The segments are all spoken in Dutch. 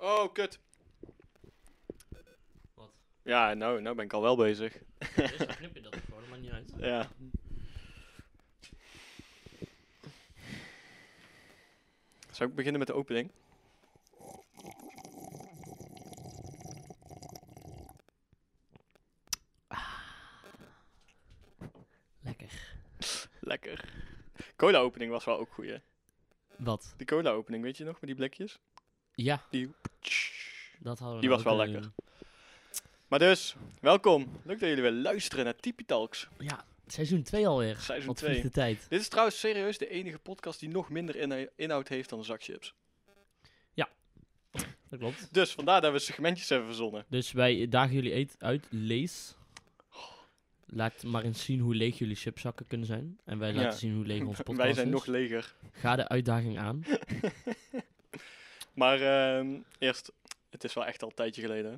Oh, kut. Wat? Ja, nou, nou ben ik al wel bezig. Dus dan knip je dat gewoon, dat maakt niet uit. Ja. Zou ik beginnen met de opening? Lekker. Lekker. Cola-opening was wel ook goed, hè? Wat? Die cola-opening, weet je nog? Met die blikjes? Ja, Die... dat hadden we Die nou was ook wel kunnen lekker. Maar dus, welkom. Leuk dat jullie weer luisteren naar Tipi Talks. doen. Ja, seizoen 2 alweer. Seizoen Wat twee. vliegt de tijd. Dit is trouwens serieus de enige podcast die nog minder inhou- inhoud heeft dan een zak chips. Dat klopt. Dus vandaar dat we segmentjes hebben verzonnen. Dus wij dagen jullie eet uit, lees. Laat maar eens zien hoe leeg jullie chipzakken kunnen zijn. En wij Ja. laten zien hoe leeg ons podcast dus. Wij zijn is. nog leger. Ga de uitdaging aan. Maar ehm, eerst, het is wel echt al een tijdje geleden. hè?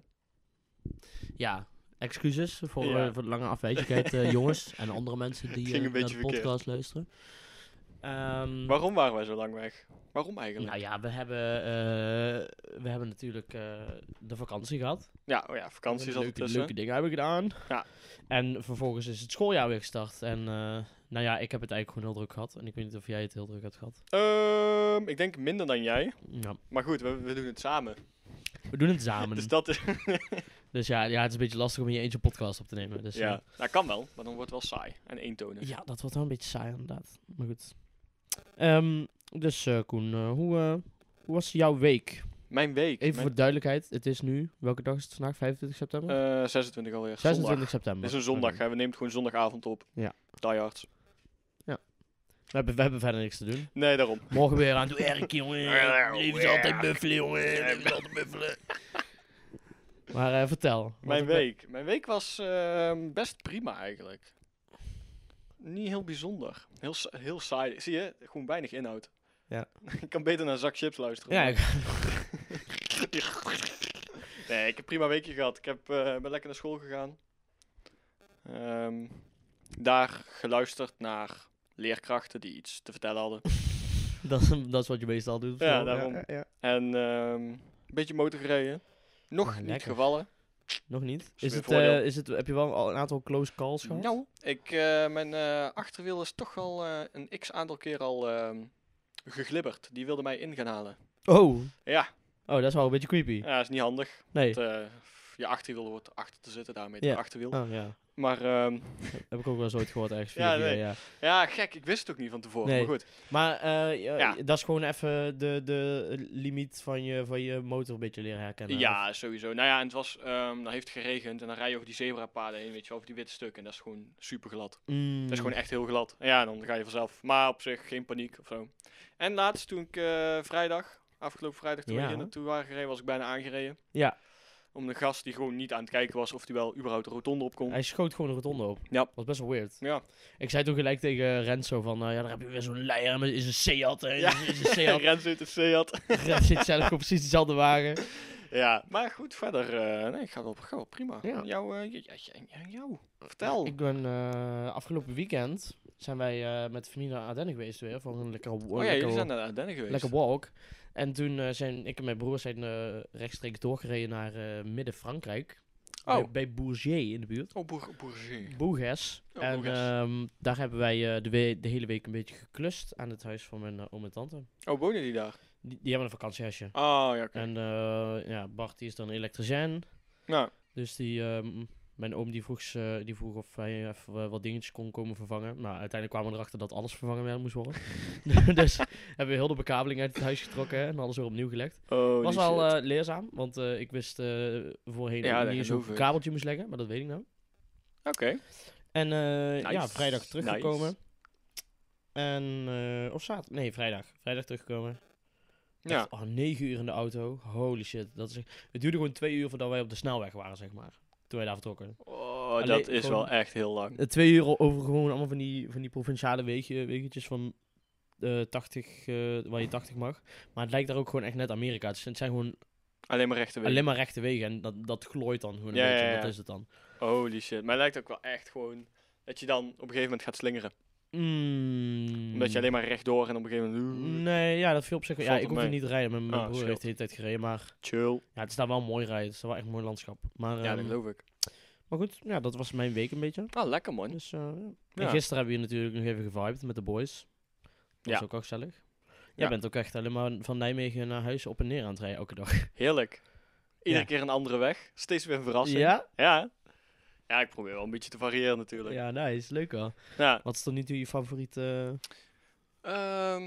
Ja, excuses voor, Ja. eh, voor de lange afwezigheid, eh, jongens. En andere mensen die Het ging eh, een naar beetje de podcast luisteren. Ehm, Waarom waren wij zo lang weg? Waarom eigenlijk? Nou ja, we hebben, eh, we hebben natuurlijk eh, de vakantie gehad. Ja, oh ja, vakantie We zat hebben leuke, ertussen. leuke dingen hebben we gedaan. Ja. En vervolgens is het schooljaar weer gestart. En eh, nou ja, ik heb het eigenlijk gewoon heel druk gehad. En ik weet niet of jij het heel druk hebt gehad. Ehm, ik denk minder dan jij. Ja, Maar goed, we, we doen het samen. we doen het samen. Dus dus dat is... ja, ja, het is een beetje lastig om in je eentje een podcast op te nemen. Dus, ja, eh, nou, kan wel, maar dan wordt het wel saai en eentonig. ja, dat wordt wel een beetje saai inderdaad. Maar goed. Ehm, dus eh, Koen, eh, hoe, eh, hoe was jouw week? Mijn week. Even mijn- voor duidelijkheid, het is nu, welke dag is het vandaag? 25 september? eh, 26 alweer. 26 Zondag. september. Het is een zondag, Oké. hè. We nemen het gewoon zondagavond op. Ja. Die hard. We hebben, we hebben verder niks te doen. Nee, daarom. Morgen weer aan het werk, jongen. Leven is altijd buffelen, jongen. Leven is altijd buffelen. Maar eh, vertel. wat Mijn heb je- week. Mijn week was ehm, best prima eigenlijk. Niet heel bijzonder. Heel, sa- heel saai. Zie je? Gewoon weinig inhoud. Ja. ik kan beter naar een zak chips luisteren. Ja, maar- ik- Nee, ik heb een prima weekje gehad. Ik heb, eh, ben lekker naar school gegaan. Ehm, daar geluisterd naar leerkrachten die iets te vertellen hadden. dat, is, dat is wat je meestal doet. Ja, daarom. En ehm, een beetje motor gereden. Nog Ah, niet lekker. gevallen. Nog niet. weer Is het, voordeel. eh, is het, heb je wel al een aantal close calls gehad? Nou, ik, eh, mijn eh, achterwiel is toch al eh, een x aantal keer al ehm, geglibberd. Die wilde mij in gaan halen. Oh. Ja, oh, dat is wel een beetje creepy. ja is niet handig. Nee. Want, eh, je achterwiel wordt achter te zitten daarmee. Ja. Het achterwiel. Oh, ja. Maar ehm, Heb ik ook wel eens ooit gehoord ergens. Ja, via- via, nee. ja. ja, gek. Ik wist het ook niet van tevoren. Nee. Maar goed. Maar eh, ja, Ja. dat is gewoon even de, de limiet van je, van je motor een beetje leren herkennen. Ja, sowieso. Nou ja, en het was, ehm dan heeft het geregend en dan rij je over die zebrapaden heen, weet je wel, over die witte stukken. En dat is gewoon super glad. Mm. Dat is gewoon echt heel glad. En ja, dan ga je vanzelf. Maar op zich geen paniek of zo. En laatst toen ik eh, vrijdag, afgelopen vrijdag toen Ja. we hier naartoe waren gereden, was ik bijna aangereden. Ja, Om de gast die gewoon niet aan het kijken was of die wel überhaupt de rotonde op kon. hij schoot gewoon een rotonde op. Ja. was best wel weird. Ja, Ik zei toen gelijk tegen Renzo van, nou ja, daar heb je weer zo'n leier met is een Seat. hè, Ja. Is een en Seat. Rens uit het zee had. Renzo zit zelf op precies dezelfde wagen. ja, maar goed, verder. eh nee, gaat wel, gaat wel prima. Ja. En Jou, eh, j- j- j- en jou, vertel. Ik ben eh, afgelopen weekend zijn wij eh, met de familie naar Ardennen geweest weer. Voor een lekkere, Oh ja, lekkere, jullie zijn naar Ardennen geweest. lekker walk. En toen eh, zijn ik en mijn broer zijn eh, rechtstreeks doorgereden naar eh, midden-Frankrijk. Oh. Bij, bij Bourget in de buurt. Oh, boer, bourgeois. Boeges. Oh, en Bourges. ehm, daar hebben wij eh, de, we- de hele week een beetje geklust aan het huis van mijn eh, oom en tante. Oh, wonen die daar? Die, die hebben een vakantiehuisje. Oh, ja, oké. En eh, ja, Bart die is dan elektricien. Nou, Dus die, ehm, mijn oom die vroeg, ze- die vroeg of hij even eh, wat dingetjes kon komen vervangen. Nou, uiteindelijk kwamen we erachter dat alles vervangen werden moest worden. dus hebben we heel de bekabeling uit het huis getrokken en alles weer opnieuw gelegd. oh, was wel eh, leerzaam, want eh, ik wist eh, voorheen Ja, dat niet eens geloof hoe ik een ik. kabeltje moest leggen, maar dat weet ik nou. Oké. En eh, ja, Nice, vrijdag nice. teruggekomen. En, eh, of zaterdag, nee, vrijdag. Vrijdag teruggekomen. Ja. Echt, oh, negen uur in de auto. Holy shit. Dat is, echt- het duurde gewoon twee uur voordat wij op de snelweg waren, zeg maar. Toen wij daar vertrokken. Oh, Alleen dat is gewoon- wel echt heel lang. Eh, Twee uur o- over gewoon allemaal van die, van die provinciale wegen, wegentjes van eh 80, eh, waar je 80 mag. Maar het lijkt daar ook gewoon echt net Amerika. Dus Het zijn- het zijn gewoon Alleen maar rechte wegen. alleen maar rechte wegen. En dat, dat glooit dan gewoon een Ja, beetje. ja, ja. Dat is het dan. Holy shit. Maar het lijkt ook wel echt gewoon dat je dan op een gegeven moment gaat slingeren. Mm. Omdat je alleen maar rechtdoor en op een gegeven moment... Nee, ja, dat viel op zich wel. Ja, Valt ik wel hoefde mee. niet te rijden. Mijn, mijn Ah, broer scheelt. heeft de hele tijd gereden. Maar Chill. ja, het is daar wel mooi rijden. Het is daar wel echt een mooi landschap. Maar, Ja, ehm, dat geloof ik. maar goed, ja, dat was mijn week een beetje. Ah, lekker man. Dus, eh, ja. En Ja. gisteren hebben we natuurlijk nog even gevibed met de boys. Dat was Ja. ook wel gezellig. Jij Ja. bent ook echt alleen maar van Nijmegen naar huis op en neer aan het rijden elke dag. Heerlijk. Iedere Ja. keer een andere weg. Steeds weer een verrassing. Ja? Ja. Ja, ik probeer wel een beetje te variëren natuurlijk. Ja. Ja, nice. Leuk wel. Wat is tot nu toe je favoriete... Ehm,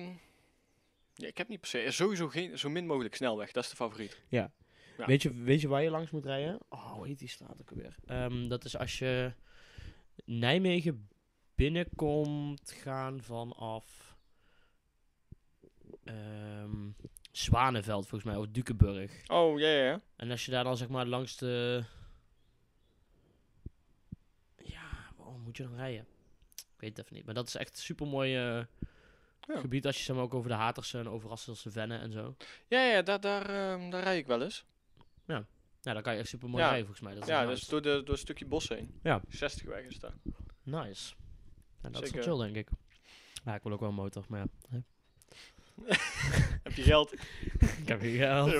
ja, ik heb niet per se... Sowieso geen, zo min mogelijk snelweg. Dat is de favoriet. Ja. Weet, je, weet je waar je langs moet rijden? Oh, hoe heet die straat ook weer? Ehm, dat is als je Nijmegen binnenkomt gaan vanaf ehm Zwanenveld volgens mij, of Dukenburg. Oh, ja, ja, ja. En als je daar dan zeg maar langs de... Ja, waarom moet je dan rijden? Ik weet het even niet, maar dat is echt super mooi Ja. gebied als je zeg maar ook over de Haterse en over Rasselse Vennen en zo. Ja, ja, daar, daar, ehm, daar rij ik wel eens. Ja, daar kan je echt super mooi Ja. rijden volgens mij. Dat is ja, nice. dus door, de, door een stukje bos heen. Ja. 60 weg is daar. Nice. Ja, dat is Zeker. wel chill, denk ik. Ja, ik wil ook wel een motor, maar ja. hè. Heb je geld? ik heb geen geld.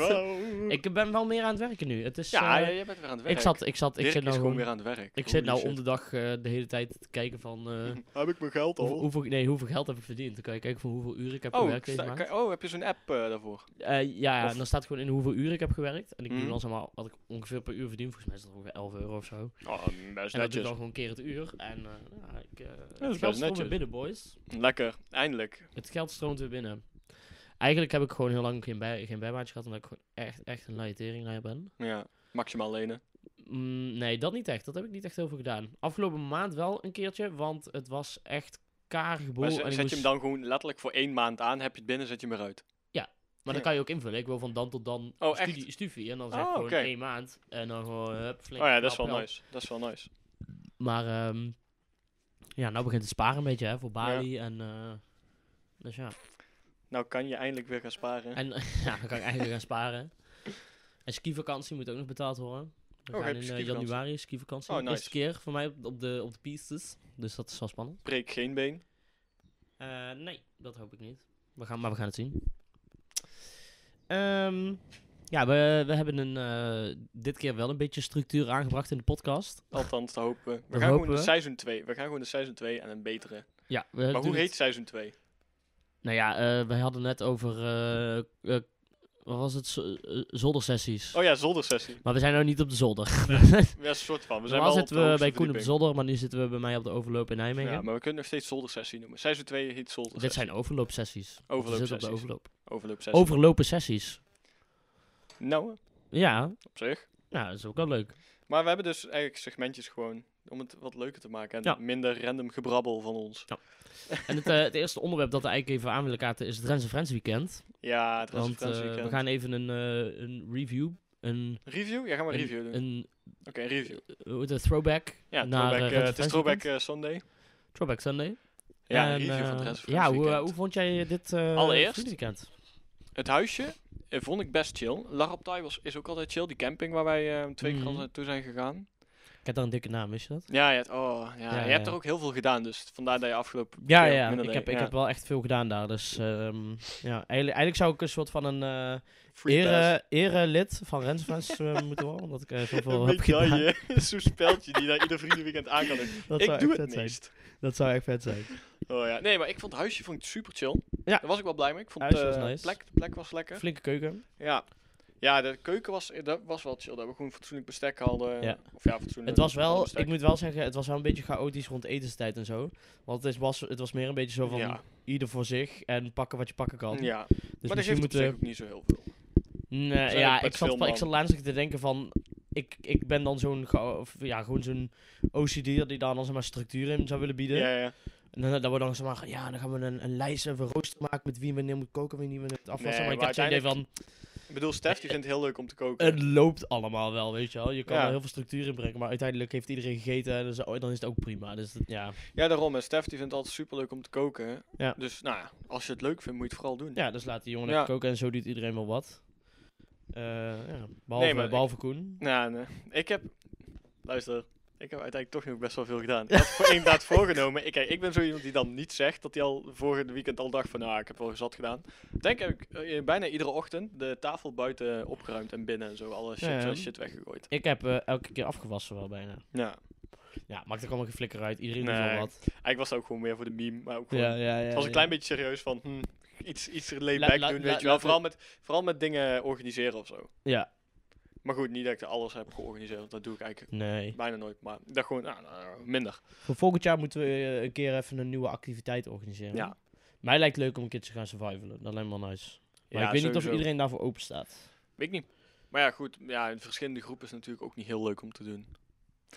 Ik ben wel meer aan het werken nu. Het is, ja, eh, ja, jij bent weer aan het werk. ik zat, ik zat, ik Dirk zit is nou gewoon gewoon, weer aan het dus werk. ik Holy zit nou om shit. de dag eh, de hele tijd te kijken van eh, Heb ik mijn geld hoe- hoeveel, nee, hoeveel geld heb ik verdiend. Dan kan je kijken van hoeveel uren ik heb Oh, gewerkt deze sta- maand. kan- oh, heb je zo'n app eh, daarvoor? Eh, ja, ja, of- en dan staat gewoon in hoeveel uren ik heb gewerkt. En ik doe Mhm. dan zeg maar wat ik ongeveer per uur verdien. Volgens mij is dat ongeveer 11 euro of zo. Oh, best en dat doe ik netjes. dan gewoon keer het uur. En eh, ja, ik, eh best het geld stroomt weer netjes. binnen, boys. Lekker, eindelijk. Het geld stroomt weer binnen. Eigenlijk heb ik gewoon heel lang geen, bij, geen bijbaantje gehad, omdat ik gewoon echt, echt een laaie teringlaaier ben. Ja, maximaal lenen. Mm, nee, dat niet echt. Dat heb ik niet echt heel veel gedaan. Afgelopen maand wel een keertje, want het was echt karige boel. Maar en zet, ik zet je hem moest- dan gewoon letterlijk voor één maand aan, heb je het binnen, zet je hem eruit. Maar dan kan je ook invullen. Ik wil van dan tot dan Oh, echt? studie, studie. En dan zeg ik Oh, gewoon oké. één maand. En dan gewoon hup, Oh flink. ja, dat is wel knap geld. nice. Dat is wel nice. Maar ehm, ja, nou begint het sparen een beetje hè, voor Bali. En, eh, dus ja. Nou kan je eindelijk weer gaan sparen. En ja, dan kan ik eigenlijk gaan sparen. En skivakantie moet ook nog betaald worden. We Oh, gaan heb in je eh, skivakantie? januari skivakantie. Oh, De Eerste nice. keer voor mij op, op de, op de pistes. Dus dat is wel spannend. Breek geen been. Eh, nee, dat hoop ik niet. We gaan, maar we gaan het zien. Ehm, ja, we, we hebben een, eh, dit keer wel een beetje structuur aangebracht in de podcast. Althans, dat hopen we. We Dat gaan hopen gewoon we. de seizoen 2. We gaan gewoon de seizoen 2 en een betere. Ja, we Maar doen hoe het- heet seizoen 2? Nou ja, eh we hadden net over... eh, eh, wat was het? Z- eh, zoldersessies. Oh ja, zoldersessie. Maar we zijn nou niet op de zolder. Ja, een soort van. We zijn Normaal wel op de zitten we hoogste bij Koen op de verdieping. Zolder, maar nu zitten we bij mij op de overloop in Nijmegen. Ja, maar we kunnen nog steeds zoldersessie noemen. Seizoen 2 heet Dit zoldersessie. zijn overloopsessies. Want we zitten op de Overloopsessies. overloop. Overloopsessie. Overlopen sessies. Nou, Ja, op zich. ja, dat is ook wel leuk. Maar we hebben dus eigenlijk segmentjes gewoon om het wat leuker te maken en Ja. minder random gebrabbel van ons. En het, eh, het eerste onderwerp dat we eigenlijk even aan willen kaarten is het Rens en Friends weekend. Ja, het was een Want Friends eh, weekend. we gaan even een, eh, een review, een, Review? Ja, gaan we een Oh, review doen. een, een, Oké, een review. eh, hoe heet het, throwback Ja, naar eh, throwback, Rens eh, en het is Friends Throwback weekend. eh, Sunday. throwback Sunday. Ja, een En, review van eh, het Rens en Ja, Friends hoe, eh, weekend. hoe vond jij dit eh Allereerst- vriendenweekend? Het huisje eh, vond ik best chill. Laraptai was is ook altijd chill. Die camping waar wij eh, twee keer Mhm. al naartoe zijn gegaan. Ik heb daar een dikke naam, wist je dat? Ja, je, hebt- oh, ja, Ja, je ja, hebt ja. er ook heel veel gedaan, dus vandaar dat je afgelopen Ja, keer ja. minder Ik deed. heb, ik Ja. heb wel echt veel gedaan daar. Dus ehm, ja, eigenlijk, eigenlijk zou ik een soort van een eh Free pass. ere, ere lid van Rensfans eh, moeten worden. Omdat ik eh, zoveel Een heb gedaan. medaille, zo'n speldje die naar ieder vriendenweekend aan kan doen. Dat ik zou doe echt het vet meest. zijn. Dat zou echt vet zijn. Oh ja, nee, maar ik vond het huisje vond ik super chill. Ja. Daar was ik wel blij mee. Ik vond Huisje eh, was de nice. plek, de plek was lekker. Flinke keuken. Ja. Ja, de keuken was, eh, dat was wel chill. Dat we gewoon fatsoenlijk bestek hadden. Ja. Of ja, fatsoenlijk. Het was ander wel, bestek. ik moet wel zeggen, het was wel een beetje chaotisch rond etenstijd en zo. Want het is- was, het was meer een beetje zo van Ja. ieder voor zich en pakken wat je pakken kan. Ja, Dus maar dat misschien geeft op moeten zich ook niet zo heel veel. Nee, ook ja, best ik zat, veel va- ik man. zat laatst ook te denken van... Ik, ik ben dan zo'n geo- of ja, gewoon zo'n OCD'er die daar dan zeg maar, structuur in zou willen bieden. Ja, ja. En dan, dan wordt dan zeg maar, ja, dan gaan we een, een lijst en een rooster maken met wie wanneer moet koken, wie niet wanneer moet afwassen. Nee, maar ik maar heb het idee van, Ik bedoel, Stef, die vindt het heel leuk om te koken. het loopt allemaal wel, weet je wel. Je kan Ja. er heel veel structuur in brengen, maar uiteindelijk heeft iedereen gegeten en dan is- dan is het ook prima. Dus dat- ja. Ja, daarom. En Stef, die vindt het altijd super leuk om te koken. Ja. Dus nou ja, als je het leuk vindt, moet je het vooral doen. ja, dus laat die jongen Ja. even koken en zo doet iedereen wel wat. Eh, ja. Behalve, maar ik- behalve Koen. Nou, nee. ik heb... Luister, Ik heb uiteindelijk toch nog best wel veel gedaan. Ik had voor één daad voorgenomen. Ik, kijk, ik ben zo iemand die dan niet zegt dat hij al vorige weekend al dacht van, nou, ik heb wel zat gedaan. Ik Denk heb ik eh, bijna iedere ochtend de tafel buiten opgeruimd en binnen en zo. Alle shit, eh, Ja, ja. shit weggegooid. Ik heb eh, elke keer afgewassen wel bijna. Ja. Ja, maakt ook allemaal geen flikker uit. Iedereen doet Nee. wel wat. Eigenlijk was het ook gewoon meer voor de meme, maar ook gewoon... ja, ja. het was een klein beetje serieus van, hm, iets, iets laid La- back la- doen, la- weet je wel. laten Vooral met, vooral met dingen organiseren of zo. Ja, Maar goed, niet dat ik alles heb georganiseerd, want dat doe ik eigenlijk nee. bijna nooit. Maar ik dacht gewoon, nou, nou, minder. Voor volgend jaar moeten we eh, een keer even een nieuwe activiteit organiseren. Ja. Mij lijkt het leuk om een keer te gaan survivalen. Dat lijkt me wel nice. Maar Ja, ik weet niet sowieso. of iedereen daarvoor open staat. Weet ik niet. Maar ja, goed. Ja, in verschillende groepen is natuurlijk ook niet heel leuk om te doen.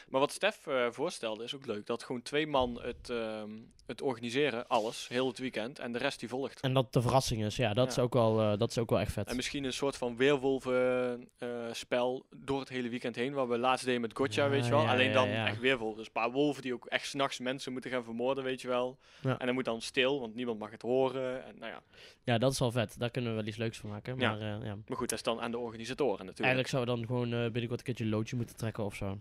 Maar wat Stef eh, voorstelde is ook leuk. Dat gewoon twee man het, ehm, het organiseren, alles, heel het weekend. En de rest die volgt. En dat de verrassing is. Ja, dat, Ja. Is, ook wel, eh, dat is ook wel echt vet. En misschien een soort van weerwolven-spel door het hele weekend heen. Wat we laatst deden met Gotcha, Ja, weet je wel. ja, Alleen ja, dan ja. echt weerwolven. Dus een paar wolven die ook echt s'nachts mensen moeten gaan vermoorden, weet je wel. Ja. En dan moet dan stil, want niemand mag het horen. En, nou ja. Ja, dat is wel vet. Daar kunnen we wel iets leuks van maken. Ja. Maar eh, ja. Maar goed, dat is dan aan de organisatoren natuurlijk. Eigenlijk zouden we dan gewoon eh, binnenkort een keertje een loodje moeten trekken of zo.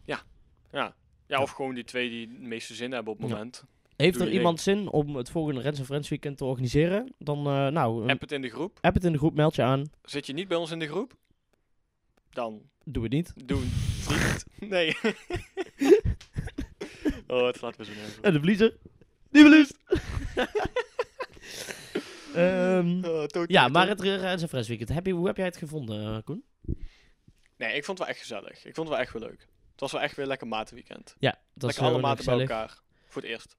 Ja, of gewoon die twee die het meeste zin hebben op het Ja. moment. Heeft Doe er je iemand zin om het volgende Rens en Friends weekend te organiseren? Dan, eh, nou, App het in de groep. app het in de groep, meld je aan. Zit je niet bij ons in de groep? Dan Doe het niet. doen niet. Nee. oh, het slaat me zo nergens op. En de bliezer. Die bliest! Ehm, Oh, toot, ja, toot, maar toot. het eh, Rens en Friends weekend. Heb je, hoe heb jij het gevonden, eh, Koen? Nee, ik vond het wel echt gezellig. Ik vond het wel echt wel leuk. Het was wel echt weer lekker matenweekend. Ja, dat Lekker eh, alle wel maten bij gezellig. elkaar. Voor het eerst.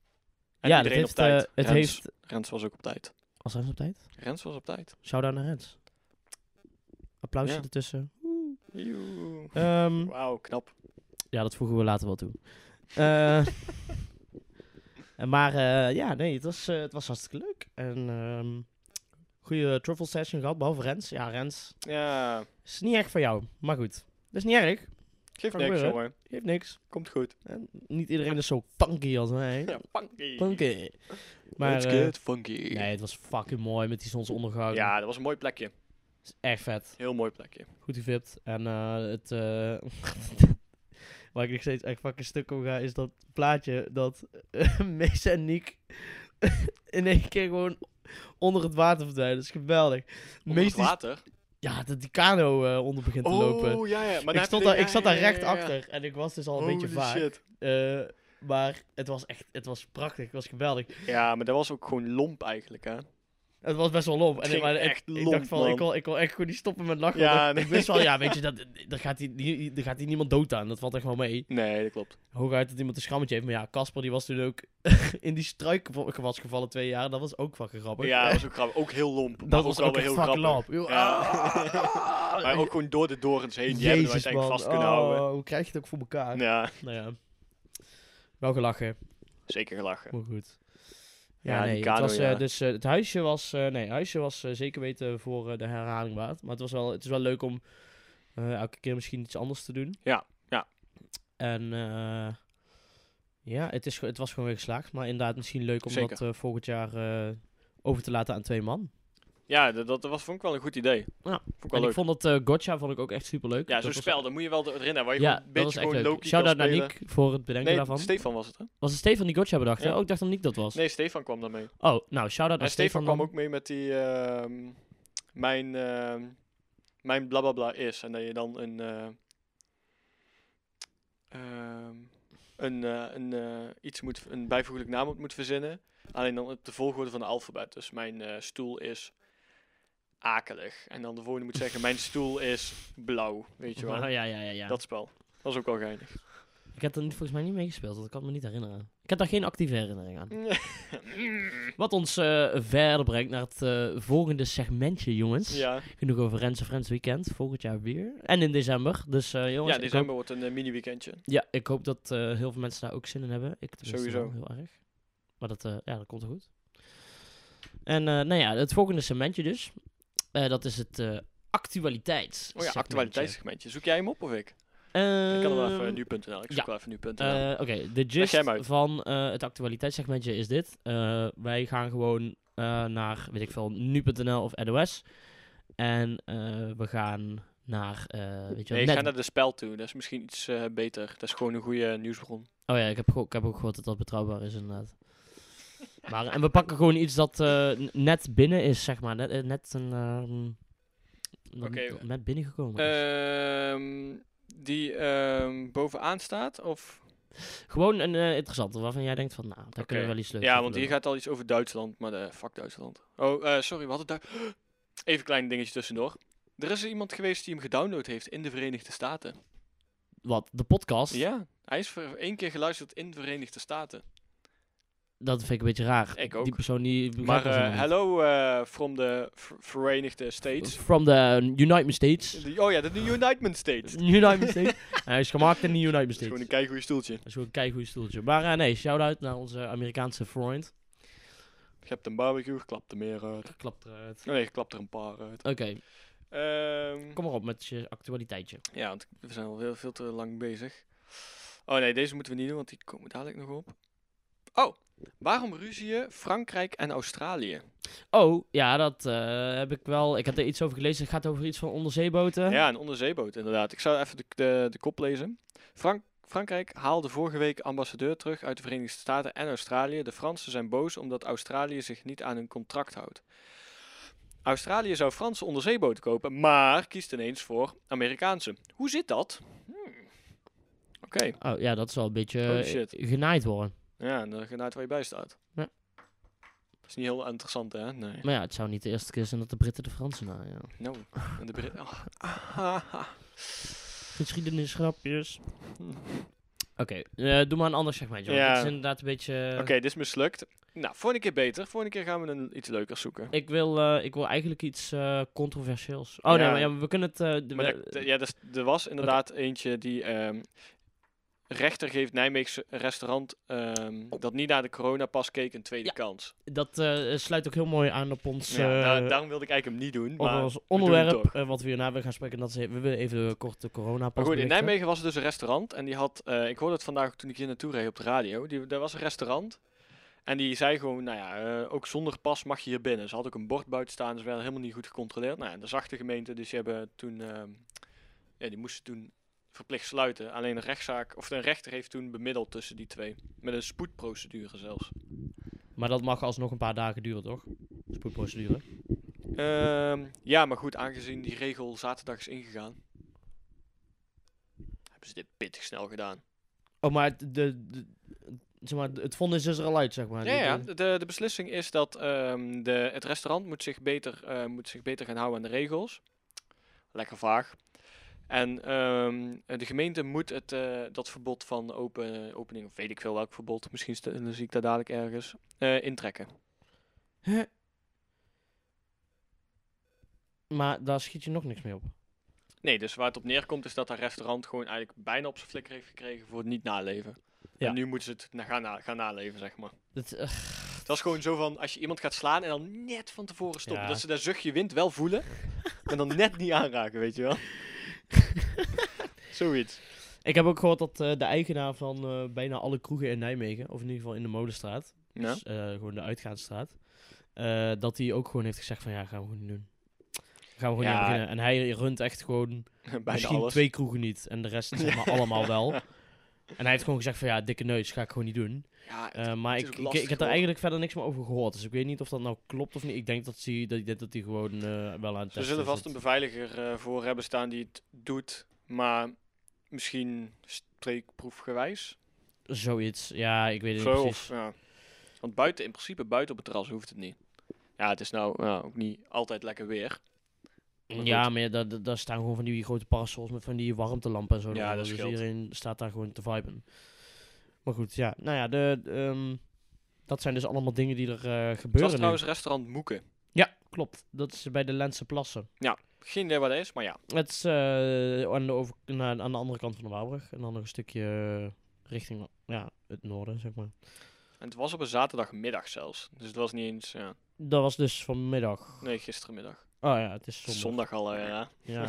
En Ja, dat iedereen heeft, op tijd. eh, het Rens, heeft... Rens was ook op tijd. Was Rens op tijd? Rens was op tijd. Shout-out naar Rens. Applausje Ja. ertussen. Joe. Ehm, Wauw, knap. Ja, dat voegen we later wel toe. Eh, en maar eh, ja, nee, het was, eh, het was hartstikke leuk. En ehm goede truffle session gehad, behalve Rens. Ja, Rens Ja, is niet echt voor jou, maar goed. Dat is niet erg, geef Kan niks gebeuren. jongen. geeft niks. Komt goed. En niet iedereen is zo funky als mij. Ja, funky. Funky. Maar Let's eh, get funky. nee, het was fucking mooi met die zonsondergang. Ja, dat was een mooi plekje. Is echt vet. Heel mooi plekje. Goed gevipt. En eh, het... eh, Waar ik nog steeds echt fucking stuk om ga, is dat plaatje dat eh, Mees en Niek in één keer gewoon onder het water verdwijnen. Dat is geweldig. Onder Mees het die- water. ja, dat die kano eh, onder begint te lopen. Oh, ja, ja. Maar dan ik, heb stond je de- daar, ik ja, zat ja, daar ja, recht ja, ja. achter en ik was dus al een beetje Holy vaag. shit. Eh, maar het was echt, het was prachtig, het was geweldig. Ja, maar dat was ook gewoon lomp eigenlijk, hè? Het was best wel lomp. Het en ging maar ik- echt ik, lomp, dacht van, man. ik wil, ik wil echt gewoon niet stoppen met lachen. Ja, want ik, nee. ik wist wel, ja, weet je, dat, daar gaat hier- hier daar gaat hier niemand dood aan. Dat valt echt wel mee. Nee, dat klopt. Hooguit dat iemand een schrammetje heeft. Maar ja, Casper die was toen ook in die struik was gevallen twee jaar. Dat was ook fucking grappig. Ja, dat was ook grappig. Ook heel lomp. maar dat was wel ook weer echt heel fucking grappig. lomp. Yo, Ja. ah, Maar ook gewoon door de dorens heen. Die hebben we Jezus, uiteindelijk man. vast kunnen Oh, houden. Hoe krijg je het ook voor elkaar? Ja, Nou ja. Wel gelachen, zeker gelachen. maar goed. Ja, Ja, die nee, het kano, was, eh, ja. dus eh, het huisje was, eh, nee, het huisje was eh, zeker weten voor eh, de herhaling waard. Maar het, was wel, het is wel leuk om eh, elke keer misschien iets anders te doen. Ja, ja. En eh, ja, het, is, ge- het was gewoon weer geslaagd. Maar inderdaad misschien leuk om Zeker. dat eh, volgend jaar eh, over te laten aan twee man. Ja, dat, dat was, vond ik wel een goed idee. Ja. Vond ik en wel leuk. ik vond dat eh Gotcha vond ik ook echt super leuk. Ja, zo'n spel, dan moet je wel door- erin hebben. Waar je gewoon een dat beetje was echt gewoon leuk. Loki kan Shout-out naar spelen. Niek voor het bedenken Nee, daarvan. Stefan was het, hè? was het Stefan die Gotcha bedacht? hè? Ja. Oh, ik dacht dat Niek dat was. Nee, Stefan kwam daarmee. Oh, nou, shout-out naar En Stefan Stefan kwam dan. ook mee met die... ehm, mijn... ehm mijn blablabla is. En dat je dan een... eh, ehm, een, eh, een eh, iets moet... Een bijvoeglijk naamwoord moet verzinnen. Alleen dan op de volgorde van de alfabet. Dus mijn eh, stoel is... Akelig. En dan de volgende moet zeggen... Mijn stoel is blauw. Weet je wel. Ah, ja, ja, ja. ja. Dat spel. Dat is ook wel geinig. Ik heb er niet- volgens mij niet mee gespeeld, want ik kan me niet herinneren. Ik heb daar geen actieve herinnering aan. Wat ons eh, verder brengt naar het eh, volgende segmentje, jongens. ja. Genoeg over Rens en Friends Weekend, volgend jaar weer. En in december, dus eh, jongens. ja, ik december wordt een eh, mini-weekendje. hoop- ja, ik hoop dat eh, heel veel mensen daar ook zin in hebben. Ik tenminste wel Sowieso. heel erg. Maar dat, eh, ja, dat komt er goed. En eh, nou ja, het volgende segmentje dus. Eh, dat is het eh actualiteits. Ehm, Oh ja, actualiteitssegmentje. Zoek jij hem op of ik? Ik kan wel even nu.nl. Ik zoek ja. wel even nu.nl. Eh, Oké, de gist jij hem uit. van eh, het actualiteitssegmentje is dit. Eh, wij gaan gewoon eh, naar, weet ik veel, nu.nl of NOS. En eh, we gaan naar, eh, weet je wel, Nee, ik ga net- naar de spel toe. Dat is misschien iets eh, beter. Dat is gewoon een goede eh, nieuwsbron. Oh ja, ik heb, geho- ik heb ook gehoord dat dat betrouwbaar is inderdaad. Maar, en we pakken gewoon iets dat eh, n- net binnen is, zeg maar. Net, eh, net een... ehm, dat Oké. eh, dat net binnengekomen is. Ehm, die ehm, bovenaan staat? Of? Gewoon een eh, interessante, waarvan jij denkt van, nou, daar kunnen we wel iets leuks Ja, over want hier doen. gaat al iets over Duitsland, maar de fuck Duitsland. Oh, eh, sorry, we hadden daar. Even een klein dingetje tussendoor. Er is iemand geweest die hem gedownload heeft in de Verenigde Staten. Wat, de podcast? Ja, hij is voor één keer geluisterd in de Verenigde Staten. Dat vind ik een beetje raar. Ik ook. Die persoon die... begrijpt Maar ons eh, helemaal niet. hello eh, from the Ver- Verenigde States. From the United States. De- oh ja, de United States. Dat United States. hij is gemaakt in de United is gewoon States. een keigoeie stoeltje. Dat is gewoon een keigoed stoeltje. Maar eh, nee, shout-out naar onze Amerikaanse vriend. Je hebt een barbecue, klapt er meer uit. Klapt eruit. Oh nee, klapt er een paar uit. Oké, Ehm, kom maar op met je actualiteitje. ja, want we zijn al heel, veel te lang bezig. Oh nee, deze moeten we niet doen, want die komen dadelijk nog op. Oh, waarom ruzieën Frankrijk en Australië? Oh, ja, dat eh, heb ik wel. Ik had er iets over gelezen. Het gaat over iets van onderzeeboten. Ja, een onderzeeboot inderdaad. Ik zou even de, de, de kop lezen. Frank, Frankrijk haalde vorige week ambassadeur terug uit de Verenigde Staten en Australië. De Fransen zijn boos omdat Australië zich niet aan hun contract houdt. Australië zou Franse onderzeeboten kopen, maar kiest ineens voor Amerikaanse. Hoe zit dat? Hmm. Oké, Oh, ja, dat zal een beetje Oh, eh, shit. genaaid worden. ja, en dan gaat waar je bij staat. Ja. Dat is niet heel interessant, hè? Nee. Maar ja, het zou niet de eerste keer zijn dat de Britten de Fransen na. Ja. Nou, en de Brit- Ah, ah, ah. Geschiedenisgrapjes. Hmm. Oké, eh, doe maar een ander segmentje. want Ja. Het is inderdaad een beetje... eh, Oké, dit is mislukt. Nou, volgende keer beter. Volgende keer gaan we een, iets leukers zoeken. Ik, wil, eh, ik wil eigenlijk iets eh, controversieels. Oh nee, Ja. maar ja, we kunnen het... eh, de- Maar we- dat- ja, dat is- er was inderdaad eentje die ehm, rechter geeft Nijmeegse restaurant ehm, dat niet naar de coronapas keek een tweede Ja. kans. dat eh, sluit ook heel mooi aan op ons... ja, nou, eh, daarom wilde ik eigenlijk hem niet doen. op Maar, ons doen het onderwerp toch. eh, wat we hierna willen gaan spreken. Dat is, we willen even de korte corona maar goed, in Nijmegen was er dus een restaurant en die had, eh, ik hoorde het vandaag ook toen ik hier naartoe reed op de radio, die, daar was een restaurant en die zei gewoon, nou ja, eh, ook zonder pas mag je hier binnen. Ze had ook een bord buiten staan, ze werden helemaal niet goed gecontroleerd. Nou, ja, dat zag de gemeente, dus die hebben toen, ehm, ja, die moesten toen verplicht sluiten. Alleen een rechtszaak, of een rechter heeft toen bemiddeld tussen die twee, met een spoedprocedure zelfs. Maar dat mag alsnog een paar dagen duren, toch? Spoedprocedure. Ehm, ja, maar goed, aangezien die regel zaterdag is ingegaan, hebben ze dit pittig snel gedaan. Oh, maar het, de, de- zeg maar het vonnis is er al uit, zeg maar. Ja, ja. De- De, de beslissing is dat ehm, de, het restaurant moet zich, beter, eh, moet zich beter gaan houden aan de regels. Lekker vaag. En ehm, de gemeente moet het, eh, dat verbod van open, opening, of weet ik veel welk verbod, misschien st- zie ik dat dadelijk ergens, eh, intrekken. de- maar daar schiet je nog niks mee op. Nee, dus waar het op neerkomt is dat dat restaurant gewoon eigenlijk bijna op zijn flikker heeft gekregen voor het niet naleven. Ja. En nu moeten ze het na- gaan, na- gaan naleven, zeg maar. Dat, eh, Het was gewoon zo van, als je iemand gaat slaan en dan net van tevoren stoppen, Ja. dat ze dat zuchtje wind wel voelen, en dan net niet aanraken, weet je wel. Zoiets. ik heb ook gehoord dat eh, de eigenaar van eh, bijna alle kroegen in Nijmegen, of in ieder geval in de Molenstraat, Ja. dus, eh, gewoon de uitgaansstraat, eh, dat hij ook gewoon heeft gezegd van ja, gaan we gewoon niet doen. Gaan we gewoon niet Ja. aan beginnen. En hij runt echt gewoon eh, Bijna misschien alles. twee kroegen niet en de rest zeg maar allemaal wel. En hij heeft gewoon gezegd van ja, dikke neus, ga ik gewoon niet doen. Ja, het- Eh, maar het ik, is ook ik, lastig, ik heb hoor. daar eigenlijk verder niks meer over gehoord. Dus ik weet niet of dat nou klopt of niet. Ik denk dat hij dat, dat, dat die gewoon eh, wel aan Ze het testen zullen vast zit. een beveiliger eh, voor hebben staan die het doet, maar misschien streekproefgewijs. Zoiets. Ja, ik weet het niet Zo, precies. of, ja. Want buiten, in principe buiten op het terras hoeft het niet. Ja, het is nou ja, ook niet altijd lekker weer. maar ja, goed. maar ja, daar- daar- daar staan gewoon van die grote parasols met van die warmtelampen en zo. Ja, eronder. dat dus scheelt. iedereen staat daar gewoon te viben. Maar goed, ja. Nou ja, de, de, ehm, dat zijn dus allemaal dingen die er eh, Het gebeuren was nu. trouwens restaurant Moeken. Ja, klopt. Dat is bij de Lentse Plassen. Geen idee wat dat is, maar ja. Het is eh, aan, de over, na- aan de andere kant van de Waalbrug. En dan nog een stukje richting ja, het noorden, zeg maar. En het was op een zaterdagmiddag zelfs. Dus het was niet eens. Ja. Dat was dus vanmiddag. Nee, gisterenmiddag. Oh ja, het is zondag. Zondag al, eh, ja. Ja.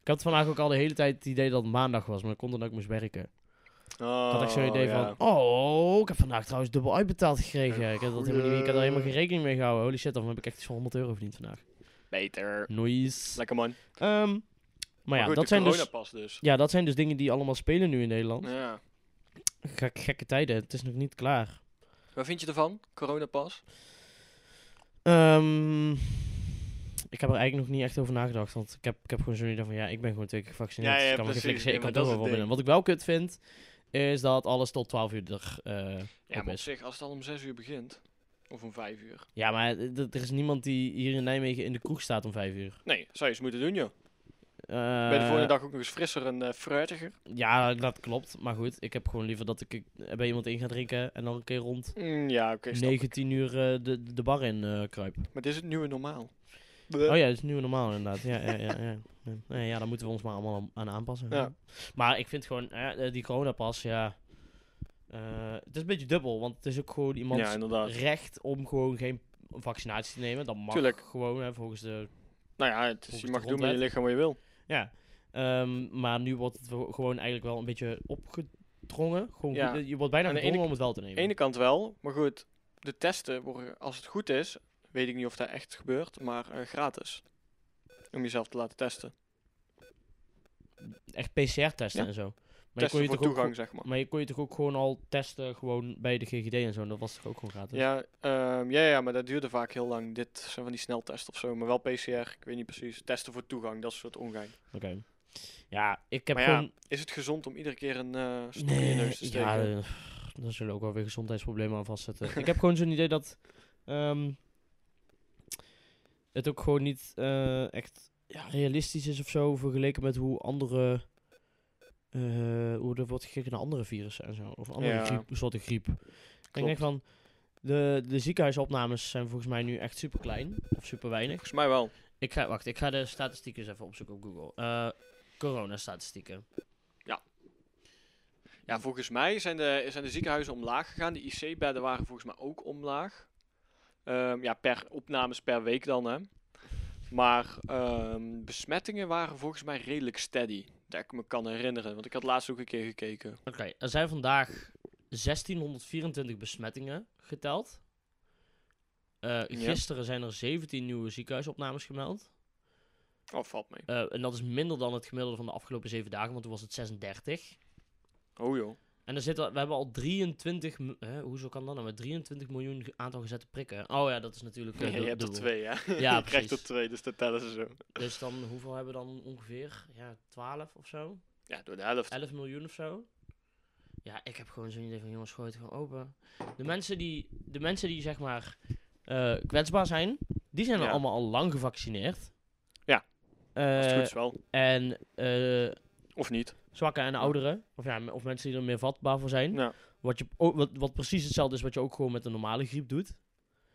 ik had vandaag ook al de hele tijd het idee dat het maandag was, maar dat komt omdat ik moest werken. Ik had echt zo'n Oh, idee van, oh, ik heb vandaag trouwens dubbel uitbetaald gekregen. Ik had, dat helemaal niet, ik had er helemaal geen rekening mee gehouden. Holy shit, dan heb ik echt iets van 100 euro verdiend vandaag. Beter. Nice. Lekker man. Ehm, Maar ja, goed, dat de zijn dus, coronapas dus. ja, dat zijn dus dingen die allemaal spelen nu in Nederland. Ja. Gek- gekke tijden, het is nog niet klaar. Wat vind je ervan? Coronapas? Ehm, ik heb er eigenlijk nog niet echt over nagedacht. Want ik heb, ik heb gewoon zo'n idee van ja, ik ben gewoon twee keer gevaccineerd. Ja, ja, dus ik kan me geen precies. flikker- Ja, ik maar kan toch dat is wel het binnen. Wat ik wel kut vind, is dat alles tot 12 uur er. eh, Ja, Op maar op is. zich, als het al om 6 uur begint, of om 5 uur. ja, maar d- d- er is niemand die hier in Nijmegen in de kroeg staat om 5 uur. Nee, zou je eens moeten doen, joh. Eh, Ben je de volgende dag ook nog eens frisser en eh fruitiger? Ja, dat klopt. Maar goed, ik heb gewoon liever dat ik eh, bij iemand in ga drinken en dan een keer rond Mm, ja, oké. snap ik. 19 uur eh, de, de bar in eh kruip. maar dit is het nieuwe normaal. Eh. Oh ja, dat is nu normaal inderdaad. Ja, ja, ja, ja. ja. Nee, ja, daar moeten we ons maar allemaal aan- aan aanpassen. Ja. Maar ik vind gewoon, eh, eh, die coronapas, ja... eh, het is een beetje dubbel, want het is ook gewoon Ja, iemands inderdaad. recht om gewoon geen vaccinatie te nemen. Dat mag Tuurlijk. gewoon, hè, volgens de... Nou ja, het is- Volgens je de mag doen met je grondwet. lichaam wat je wil. Ja. Ehm, maar nu wordt het wel- gewoon eigenlijk wel een beetje opgedrongen. Gewoon, Ja. goed- eh, Je wordt bijna Aan de ene gedwongen om het wel te nemen. Aan de ene kant wel, maar goed, de testen worden, als het goed is, weet ik niet of dat echt gebeurt, maar eh, gratis. Om jezelf te laten testen. Echt PCR-testen Ja. en zo. Maar je, kon testen je voor toch ook, toegang, gewoon- zeg maar. maar je kon je toch ook gewoon al testen gewoon bij de GGD en zo. en Dat was toch ook gewoon gratis? Ja, ehm, ja, ja, maar dat duurde vaak heel lang. Dit zijn van die sneltesten of zo, maar wel PCR, ik weet niet precies. Testen voor toegang, dat soort ongein. Oké. Ja, ik heb Maar ja, gewoon... Is het gezond om iedere keer een eh stokje in je nee, neus te steken? ja, eh, daar zullen ook wel weer gezondheidsproblemen aan vastzitten. ik heb gewoon zo'n idee dat... ehm, het ook gewoon niet eh, echt ja, realistisch is of zo... vergeleken met hoe andere... eh, hoe er wordt gekeken naar andere virussen en zo. Of andere Ja. griep, soorten griep. Ik denk Klopt. van... De, de ziekenhuisopnames zijn volgens mij nu echt super klein. Of super weinig. Volgens mij wel. Ik ga, wacht, ik ga de statistieken eens even opzoeken op Google. Eh Corona-statistieken. Ja, volgens mij zijn de, zijn de ziekenhuizen omlaag gegaan. De IC-bedden waren volgens mij ook omlaag. Ehm, ja, per opnames per week dan, hè. Maar ehm, besmettingen waren volgens mij redelijk steady. Dat ik me kan herinneren. Want ik had laatst ook een keer gekeken. Oké, er zijn vandaag 1624 besmettingen geteld. Eh, gisteren zijn er 17 nieuwe ziekenhuisopnames gemeld. Oh, valt mee. Eh, en dat is minder dan het gemiddelde van de afgelopen 7 dagen, want toen was het 36. Oh joh. En er zitten, we hebben al 23, m- hè, hoezo kan dat nou, met 23 miljoen ge- aantal gezette prikken. Oh ja, dat is natuurlijk eh, je du- hebt er dubbel. twee, hè? Ja, je krijgt er precies. twee, dus dat tellen ze zo. Dus dan, hoeveel hebben we dan ongeveer? Ja, 12 of zo? Ja, door de helft. 11 miljoen of zo. Ja, ik heb gewoon zo'n idee van jongens, gooi het gewoon open. De mensen die, de mensen die zeg maar eh, kwetsbaar zijn, die zijn Ja. allemaal al lang gevaccineerd. Ja. Eh, Als het goed is wel. en eh Of niet. zwakken en ouderen, of, ja, m- of mensen die er meer vatbaar voor zijn. Ja, Wat, je, ook- wat, wat precies hetzelfde is wat je ook gewoon met een normale griep doet.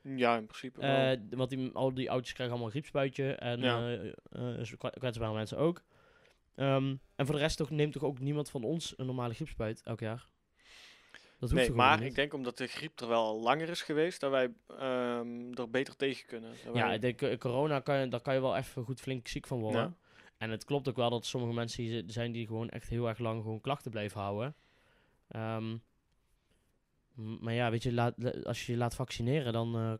Mm, ja in principe wel. Eh, d- want die, al die oudjes krijgen allemaal een griepspuitje. En Ja. eh, eh, dus kwa- kwetsbare mensen ook. Ehm, en voor de rest toch, neemt toch ook niemand van ons een normale griepspuit elk jaar? Dat hoeft Nee, toch maar gewoon ik niet? denk omdat de griep er wel langer is geweest, dat wij ehm, er beter tegen kunnen. Dat Ja, wij- ik denk, eh, corona, kan je, daar kan je wel even goed flink ziek van worden. Ja. En het klopt ook wel dat sommige mensen hier zi- zijn die gewoon echt heel erg lang gewoon klachten blijven houden. Ehm, m- maar ja, weet je, laat, la- als je je laat vaccineren, dan eh,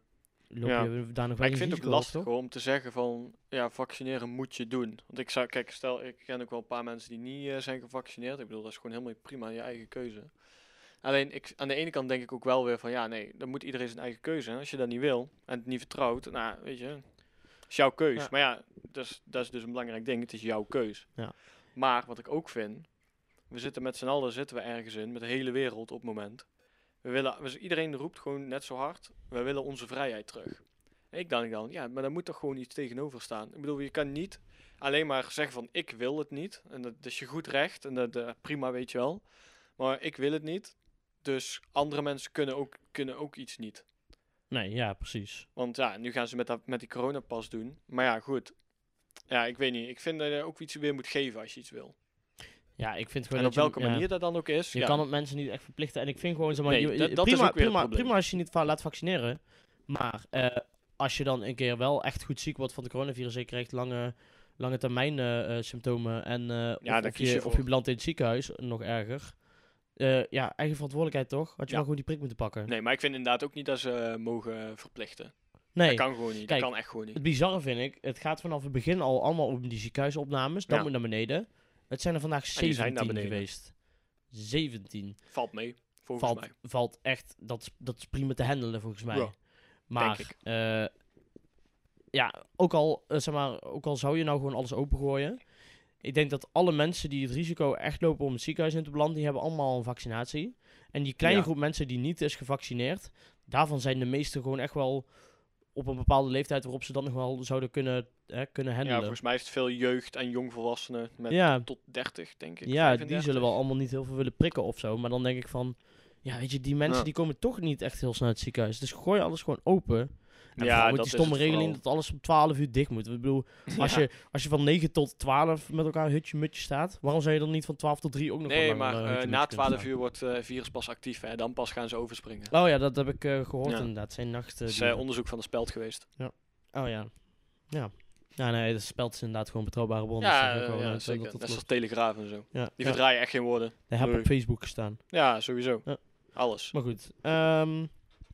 loop Ja. je daar nog wel Maar een ik vind het risico ook op, lastig toch? hoor, om te zeggen van, ja, vaccineren moet je doen. Want ik zou, kijk, stel, ik ken ook wel een paar mensen die niet eh, zijn gevaccineerd. Ik bedoel, dat is gewoon helemaal prima, je eigen keuze. Alleen, ik, aan de ene kant denk ik ook wel weer van, ja, nee, dan moet iedereen zijn eigen keuze. En als je dat niet wil en het niet vertrouwt, nou, weet je, is jouw keus. Ja. Maar ja, dat is, dat is dus een belangrijk ding, het is jouw keus. Ja. Maar wat ik ook vind, we zitten met z'n allen, zitten we ergens in, met de hele wereld op het moment. We willen, dus iedereen roept gewoon net zo hard, we willen onze vrijheid terug. En Ik denk dan, ja, maar daar moet toch gewoon iets tegenover staan. Ik bedoel, je kan niet alleen maar zeggen van ik wil het niet. En dat is je goed recht en dat eh, prima weet je wel. Maar ik wil het niet. Dus andere mensen kunnen ook, kunnen ook iets niet. Nee, ja, precies. Want ja, nu gaan ze met, dat, met die coronapas doen. Maar ja, goed. Ja, ik weet niet. Ik vind dat je ook iets weer moet geven als je iets wil. Ja, ik vind gewoon En dat op welke je, ja. manier dat dan ook is. Dus Je ja. kan het mensen niet echt verplichten. En ik vind gewoon, zeg maar, Nee, je- je- dat- dat is prima, ook weer het prima, probleem. prima als je niet va- laat vaccineren. Maar eh, als je dan een keer wel echt goed ziek wordt van het coronavirus... en je krijgt lange, lange termijn eh, eh, symptomen... en eh, daar of, of, kies je je, of voor. je belandt in het ziekenhuis, nog erger... Eh, ja, eigen verantwoordelijkheid toch? Had je Ja. maar gewoon die prik moeten pakken. Nee, maar ik vind inderdaad ook niet dat ze eh, mogen verplichten. Nee. Dat kan gewoon niet. Kijk, dat kan echt gewoon niet. Het bizarre vind ik, het gaat vanaf het begin al allemaal om die ziekenhuisopnames. Dan Ja. moet naar beneden. Het zijn er vandaag En die zijn naar 17 beneden. geweest. 17. Valt mee, volgens Valt, mij. valt echt, dat, is- dat is prima te handelen volgens mij. Ja, maar, denk ik. eh, ja, ook al, eh, zeg maar, ook al zou je nou gewoon alles opengooien. Ik denk dat alle mensen die het risico echt lopen om het ziekenhuis in te belanden, die hebben allemaal een vaccinatie. En die kleine Ja. groep mensen die niet is gevaccineerd, daarvan zijn de meesten gewoon echt wel op een bepaalde leeftijd waarop ze dat nog wel zouden kunnen, hè, kunnen Ja, handelen. volgens mij is het veel jeugd en jongvolwassenen met ja. tot 30, denk ik. Ja, die 35. zullen wel allemaal niet heel veel willen prikken of zo. Maar dan denk ik van, ja, weet je, die mensen Ja. die komen toch niet echt heel snel uit het ziekenhuis. Dus gooi alles gewoon open. En Ja, ja, dat is met die stomme het regeling vooral. dat alles om 12 uur dicht moet. Ik bedoel, als, Ja. je, als je van 9 tot 12 met elkaar hutje mutje staat, waarom zou je dan niet van 12 tot 3 ook nog Nee, een maar langer, eh, eh, hutje na mutje kunnen 12 uur wordt eh virus pas actief. Hè. Dan pas gaan ze overspringen. staan? Oh ja, dat heb ik eh, gehoord Ja. inderdaad. Het Zijn nachten. Dat is die- eh, onderzoek van de speld geweest. oh ja. Ja. Ja, nee, dat spelt is inderdaad gewoon betrouwbare bronnen. dus Ja, dat is ook wel eh, ja leuk, eh, zeker. dat dat Net als klopt. Telegraaf en zo. Ja, Die ja. verdraaien echt geen woorden. Dat heb op leuk. Facebook gestaan. Ja, sowieso. Ja. Alles. Maar goed, ehm,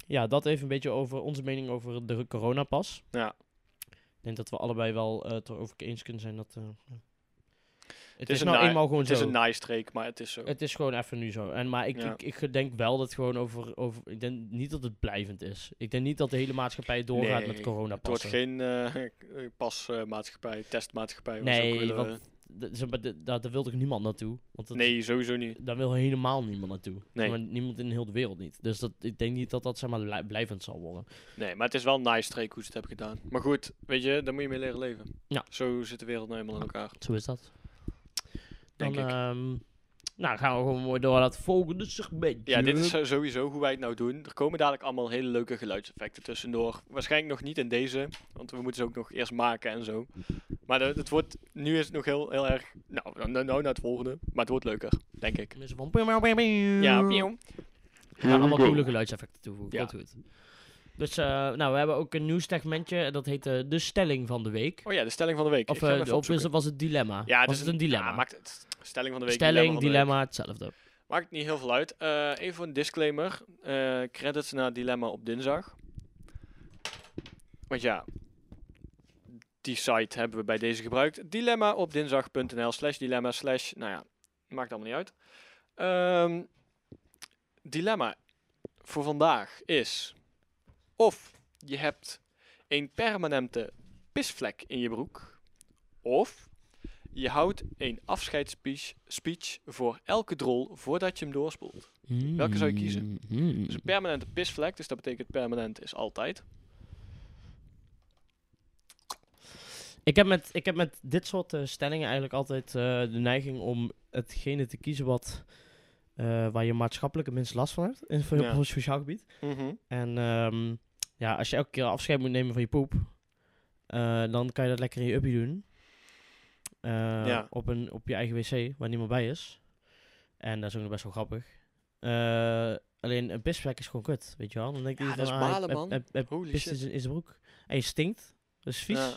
ja, dat even een beetje over onze mening over de coronapas. Ja. Ik denk dat we allebei wel eh, het erover eens kunnen zijn dat... eh, ja. het, is is een nou na- eenmaal gewoon Het is zo. een nice streek, maar het is zo. het is gewoon even nu zo. En, maar ik, Ja. ik, ik denk wel dat het gewoon over, over... Ik denk niet dat het blijvend is. Ik denk niet dat de hele maatschappij doorgaat met Nee, Het wordt coronapassen. geen eh, pasmaatschappij, testmaatschappij. wat ze Nee, ook willen. want- Dat is- maar dat- Daar daar wil toch niemand naartoe? Want dat, eh, nee, sowieso niet. Daar wil helemaal niemand naartoe. Nee. Maar niemand in heel de wereld niet. Dus dat, ik denk niet dat dat zeg maar, blij- blijvend zal worden. Nee, maar het is wel een nice streek hoe ze het hebben gedaan. Maar goed, weet je, daar moet je mee leren leven. Ja. Zo zit de wereld nou helemaal in elkaar. Zo is dat. Dan Denk ik. ehm, nou, gaan we gewoon mooi door naar het volgende segment. Ja, dit is zo- sowieso hoe wij het nou doen. Er komen dadelijk allemaal hele leuke geluidseffecten tussendoor. Waarschijnlijk nog niet in deze, want we moeten ze ook nog eerst maken en zo. Maar dat- het wordt, nu is het nog heel, heel erg, nou, nou, nou naar het volgende. Maar het wordt leuker, denk ik. Mensen van... Ja, Ja, pieuw. We gaan allemaal coole geluidseffecten toevoegen. Ja. Dat goed. Dus, eh, nou, we hebben ook een nieuw segmentje. Dat heet eh, de stelling van de week. Oh ja, de stelling van de week. Ik Of, ga hem eh, even of is opzoeken. het, was het dilemma? Ja, was het een dilemma? ja, maakt het. Stelling van de week. stelling, van de week. dilemma, hetzelfde. Maakt niet heel veel uit. Eh, even een disclaimer. Eh, credits naar Dilemma op dinsdag. Want ja, die site hebben we bij deze gebruikt. Dilemmaopdinsdag.nl slash dilemma slash... Nou ja, maakt allemaal niet uit. Ehm, dilemma voor vandaag is... Of je hebt een permanente pisvlek in je broek. Of je houdt een afscheidsspeech speech voor elke drol voordat je hem doorspoelt. Welke zou je kiezen? Hmm. Dus een permanente pisvlek, dus dat betekent permanent is altijd. Ik heb, met, ik heb met dit soort eh, stellingen eigenlijk altijd eh, de neiging om hetgene te kiezen wat, eh, waar je maatschappelijk het minst last van hebt. In, Ja. op een sociaal gebied. En ehm, ja, als je elke keer afscheid moet nemen van je poep, eh, dan kan je dat lekker in je uppie doen. Eh, Ja. op, een, op je eigen wc, waar niemand bij is. En dat is ook nog best wel grappig. Eh, alleen een pisplek is gewoon kut, weet je wel. Dan denk je Ja, van, dat is ah, hij- balen, hij- man. hij- hij Holy pist shit. in zijn- in zijn broek. En je stinkt. Dat is vies. Ja,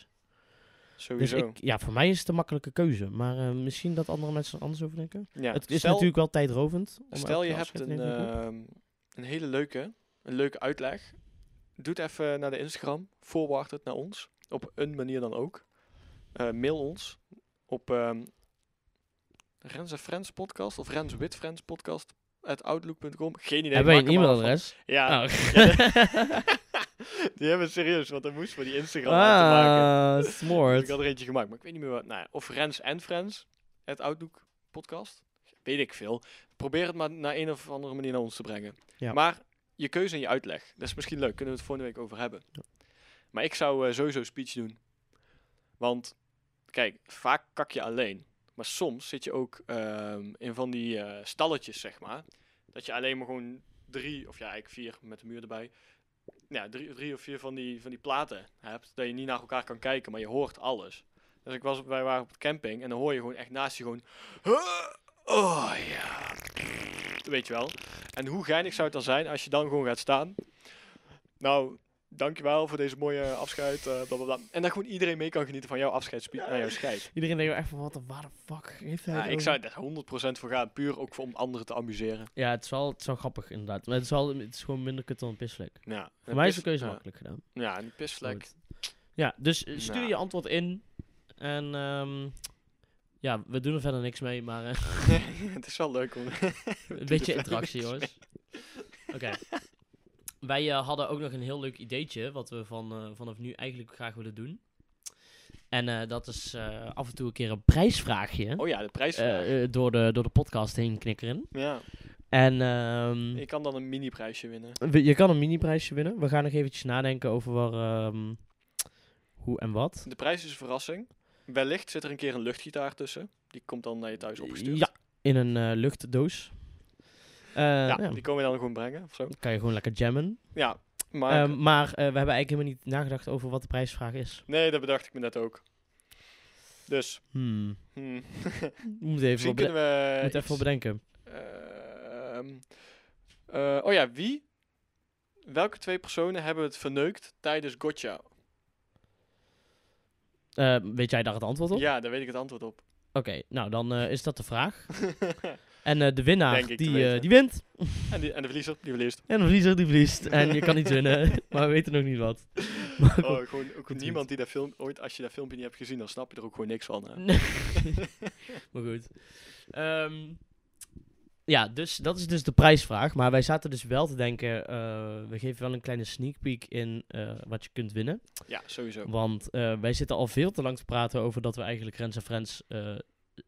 dus Sowieso. ik, ja, voor mij is het een makkelijke keuze. Maar eh, misschien dat andere mensen er anders over denken. ja. het is stel, natuurlijk wel tijdrovend. om stel elke je keer hebt afscheid te een, nemen van je poep. ehm, een hele leuke, een leuke uitleg. Doe het even naar de Instagram. Forward het naar ons. Op een manier dan ook. Eh, mail ons op ehm Rens en Friends podcast of Rens with Friends podcast at outlook.com. Geen idee. Hebben we maak een er maar wat van. e-mailadres? Ja, Nou. die hebben we serieus, want dat moest voor die Instagram aan te maken. Ah, Dus smoord. ik had er eentje gemaakt, maar ik weet niet meer wat. Nou, ja, of Rens en Friends, het Outlook podcast. Weet ik veel. Probeer het maar naar een of andere manier naar ons te brengen. Ja. Maar je keuze en je uitleg, dat is misschien leuk. Kunnen we het volgende week over hebben. Maar ik zou eh, sowieso speech doen. Want, kijk, vaak kak je alleen. Maar soms zit je ook ehm, in van die eh, stalletjes, zeg maar. Dat je alleen maar gewoon drie, of ja, eigenlijk vier met de muur erbij. Ja, drie, drie of vier van die, van die platen hebt. Dat je niet naar elkaar kan kijken, maar je hoort alles. Dus ik was, op- wij waren op de camping en dan hoor je gewoon echt naast je gewoon... Oh ja. Weet je wel. En hoe geinig zou het dan zijn als je dan gewoon gaat staan? Nou, dankjewel voor deze mooie afscheid. eh bla, bla, bla. En dat gewoon iedereen mee kan genieten van jouw afscheidsspeech naar jouw scheid. Iedereen denkt echt van, wat de, waar de fuck heeft hij Ja, het ik over? zou er 100% voor gaan, puur ook om anderen te amuseren. Ja, het is, wel, het is wel grappig inderdaad. Maar het is, wel, het is gewoon minder kut dan een pisvlek. Ja, Voor mij is de pis- keuze ja. makkelijk gedaan. Ja, een pisvlek. Goed. Ja, dus eh, stuur Nou. je antwoord in. En ehm, ja, we doen er verder niks mee, maar eh, het is wel leuk om... een er beetje verder interactie, niks jongens. Oké. Wij eh, hadden ook nog een heel leuk ideetje, wat we van, eh, vanaf nu eigenlijk graag willen doen. En eh, dat is eh, af en toe een keer een prijsvraagje Oh ja, de prijs. eh, eh, door, de, door de podcast heen knikkeren. ja, En ehm, je kan dan een mini-prijsje winnen. we- je kan een mini-prijsje winnen. We gaan nog eventjes nadenken over waar, ehm, hoe en wat. De prijs is een verrassing. Wellicht zit er een keer een luchtgitaar tussen. Die komt dan naar je thuis opgestuurd. Ja, in een eh, luchtdoos. Eh, ja, Ja, die komen we dan gewoon brengen of zo. Dan kan je gewoon lekker jammen. Ja, Ehm, Maar, maar... eh, we hebben eigenlijk helemaal niet nagedacht over wat de prijsvraag is. nee, dat bedacht ik me net ook. Dus, Hmm. hmm. We moeten even, misschien wat, bede- kunnen we... moeten iets- even wat bedenken. Ehm, eh, oh ja, wie? Welke twee personen hebben het verneukt tijdens Gotcha? Eh, weet jij daar het antwoord op? Ja, daar weet ik het antwoord op. Oké, nou dan eh, is dat de vraag. En eh, de winnaar, Denk ik te die, eh, weten. die wint. en, die, en de verliezer, die verliest. En de verliezer, die verliest. En je kan niet winnen, maar we weten nog niet wat. Maar goed. Oh, gewoon ook niemand die dat film ooit, als je dat filmpje niet hebt gezien, dan snap je er ook gewoon niks van. hè. Nee. maar goed. Ehm, ja, dus dat is dus de prijsvraag. Maar wij zaten dus wel te denken, eh, we geven wel een kleine sneak peek in eh, wat je kunt winnen. Ja, sowieso. Want eh, wij zitten al veel te lang te praten over dat we eigenlijk Rens en Friends eh,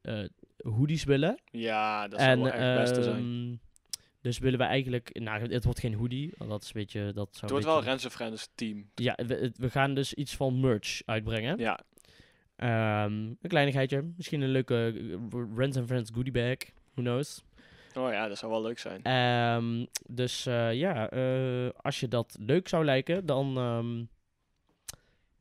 eh, hoodies willen. Ja, dat zou en, wel echt het beste zijn. ehm, dus willen we eigenlijk, nou het wordt geen hoodie, want dat is een beetje, dat zou Het een wordt wel beetje- Rens en Friends team. Ja, we, we gaan dus iets van merch uitbrengen. Ja, Ehm, een kleinigheidje. Misschien een leuke eh, Rent and Friends goodie bag. Who knows? oh ja, dat zou wel leuk zijn. Ehm, dus eh, ja, eh, als je dat leuk zou lijken, dan ehm,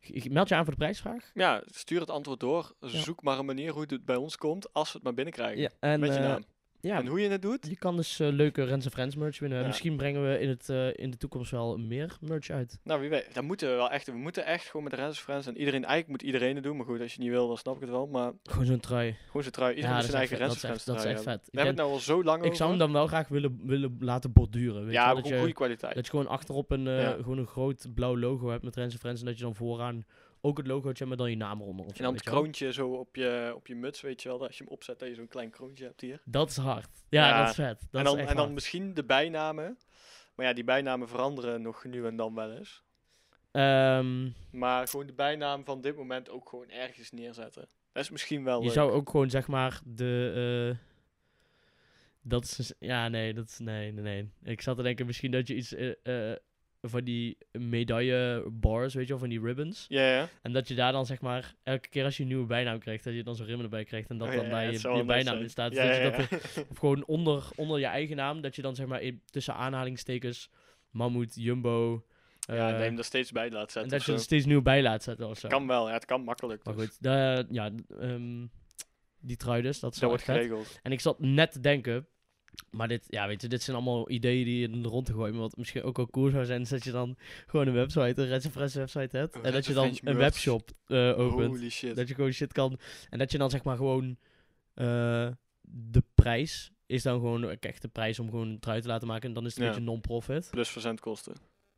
g- meld je aan voor de prijsvraag. Ja, stuur het antwoord door. Zoek maar een manier hoe het bij ons komt, als we het maar binnenkrijgen. en, Met je eh, naam. ja, En hoe je het doet? je kan dus eh, leuke Rents and Friends merch winnen. Ja. Misschien brengen we in, het, eh, in de toekomst wel meer merch uit. Nou, wie weet. Dat moeten we wel echt. We moeten echt gewoon met Rens en Friends en iedereen. Eigenlijk moet iedereen het doen, maar goed, als je het niet wil, dan snap ik het wel. Maar Gewoon zo'n trui. gewoon zijn trui. Iedereen ja, moet dat zijn is eigen echt Rens en vet. Dat Friends is echt, dat trui hebben. is echt vet. Ik, We hebben het nou al zo lang denk- ik zou hem over. dan wel graag willen, willen laten borduren. Weet je ja, wel, maar dat gewoon je- goede kwaliteit. Dat je gewoon achterop een, eh, Ja. gewoon een groot blauw logo hebt met Rens en Friends. En dat je dan vooraan ook het logootje hebt met dan je naam eronder. Of zo, En dan het weet je wel. kroontje zo op je, op je muts, weet je wel. Dat als je hem opzet, dat je zo'n klein kroontje hebt hier. Dat is hard. Ja, Ja. dat is vet. Dat en dan, is echt en dan hard. misschien de bijnamen. Maar ja, die bijnamen veranderen nog nu en dan wel eens. Ehm, Maar gewoon de bijnaam van dit moment ook gewoon ergens neerzetten. Dat is misschien wel je leuk. zou ook gewoon zeg maar de... eh, dat is... dus- Ja, nee, dat is... Nee, nee, nee. Ik zat te denken misschien dat je iets... eh, eh, van die medaille bars, weet je wel, van die ribbons. Ja, ja. En dat je daar dan zeg maar, elke keer als je een nieuwe bijnaam krijgt, dat je dan zo'n rimmen erbij krijgt. En dat Oh, ja, dan ja, bij het je, zou je wel nice zijn. bijnaam in staat. Ja, dat je ja, dat ja. Of gewoon onder, onder je eigen naam, dat je dan zeg maar in- tussen aanhalingstekens Mammoet, Jumbo. Ja, eh, dat je hem er steeds bij laat en zetten. dat of je er zo. steeds nieuw bij laat zetten of zo. Kan wel, ja, het kan makkelijk. maar dus. goed, da- ja, d- ehm, die trui dus, dat is Dat wel wordt echt vet. geregeld. En ik zat net te denken, maar dit, ja, weet je, dit zijn allemaal ideeën die je in de rond te gooien. Maar wat misschien ook wel cool zou zijn, is dat je dan gewoon een website, een Reds Fresh website hebt. Een en dat Reds je dan Friends een merch. webshop eh, opent. Holy shit. Dat je gewoon shit kan. En dat je dan zeg maar gewoon. eh, de prijs is dan gewoon ook echt de prijs om gewoon een trui te laten maken. En dan is het een Ja. beetje non-profit. Plus verzendkosten.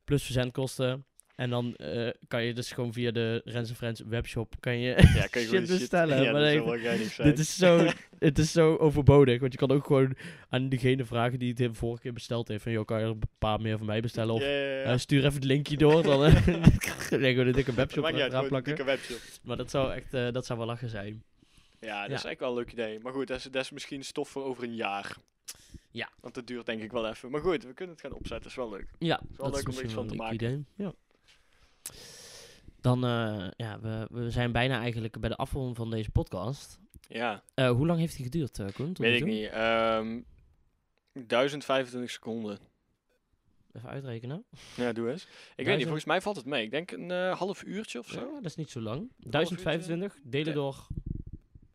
Plus verzendkosten. En dan eh, kan je dus gewoon via de Rens Friends webshop. Kan je Ja, kan je gewoon shit bestellen. Ja, maar dat dan zou denk wel geinig ik, zijn. dit is zo, het is zo overbodig. Want je kan ook gewoon aan diegene vragen die het de vorige keer besteld heeft. Van joh, kan je er een paar meer van mij bestellen? Of Ja, ja, ja. eh, stuur even het linkje door. Dan eh, krijg je gewoon een dikke Dat webshop maakt niet uit, erachteraan gewoon een plakken. dikke webshop. Maar dat zou echt, eh, dat zou wel lachen zijn. Ja, dat Ja. is eigenlijk wel een leuk idee. Maar goed, dat is, dat is misschien stof voor over een jaar. Ja. Want dat duurt denk ik wel even. Maar goed, we kunnen het gaan opzetten, is wel leuk. Ja, wel dat is leuk om er misschien iets van wel een te leuk idee. Ja. Dan, eh, ja, we, we zijn bijna eigenlijk bij de afronding van deze podcast. Ja, Eh, hoe lang heeft die geduurd, eh Koen? tot nu weet ik toe? niet. Ehm 1025 seconden. Even uitrekenen. Ja, doe eens. Ik weet Duizend- niet, volgens mij valt het mee. Ik denk een eh, half uurtje of Ja, zo. dat is niet zo lang. 1025 delen door...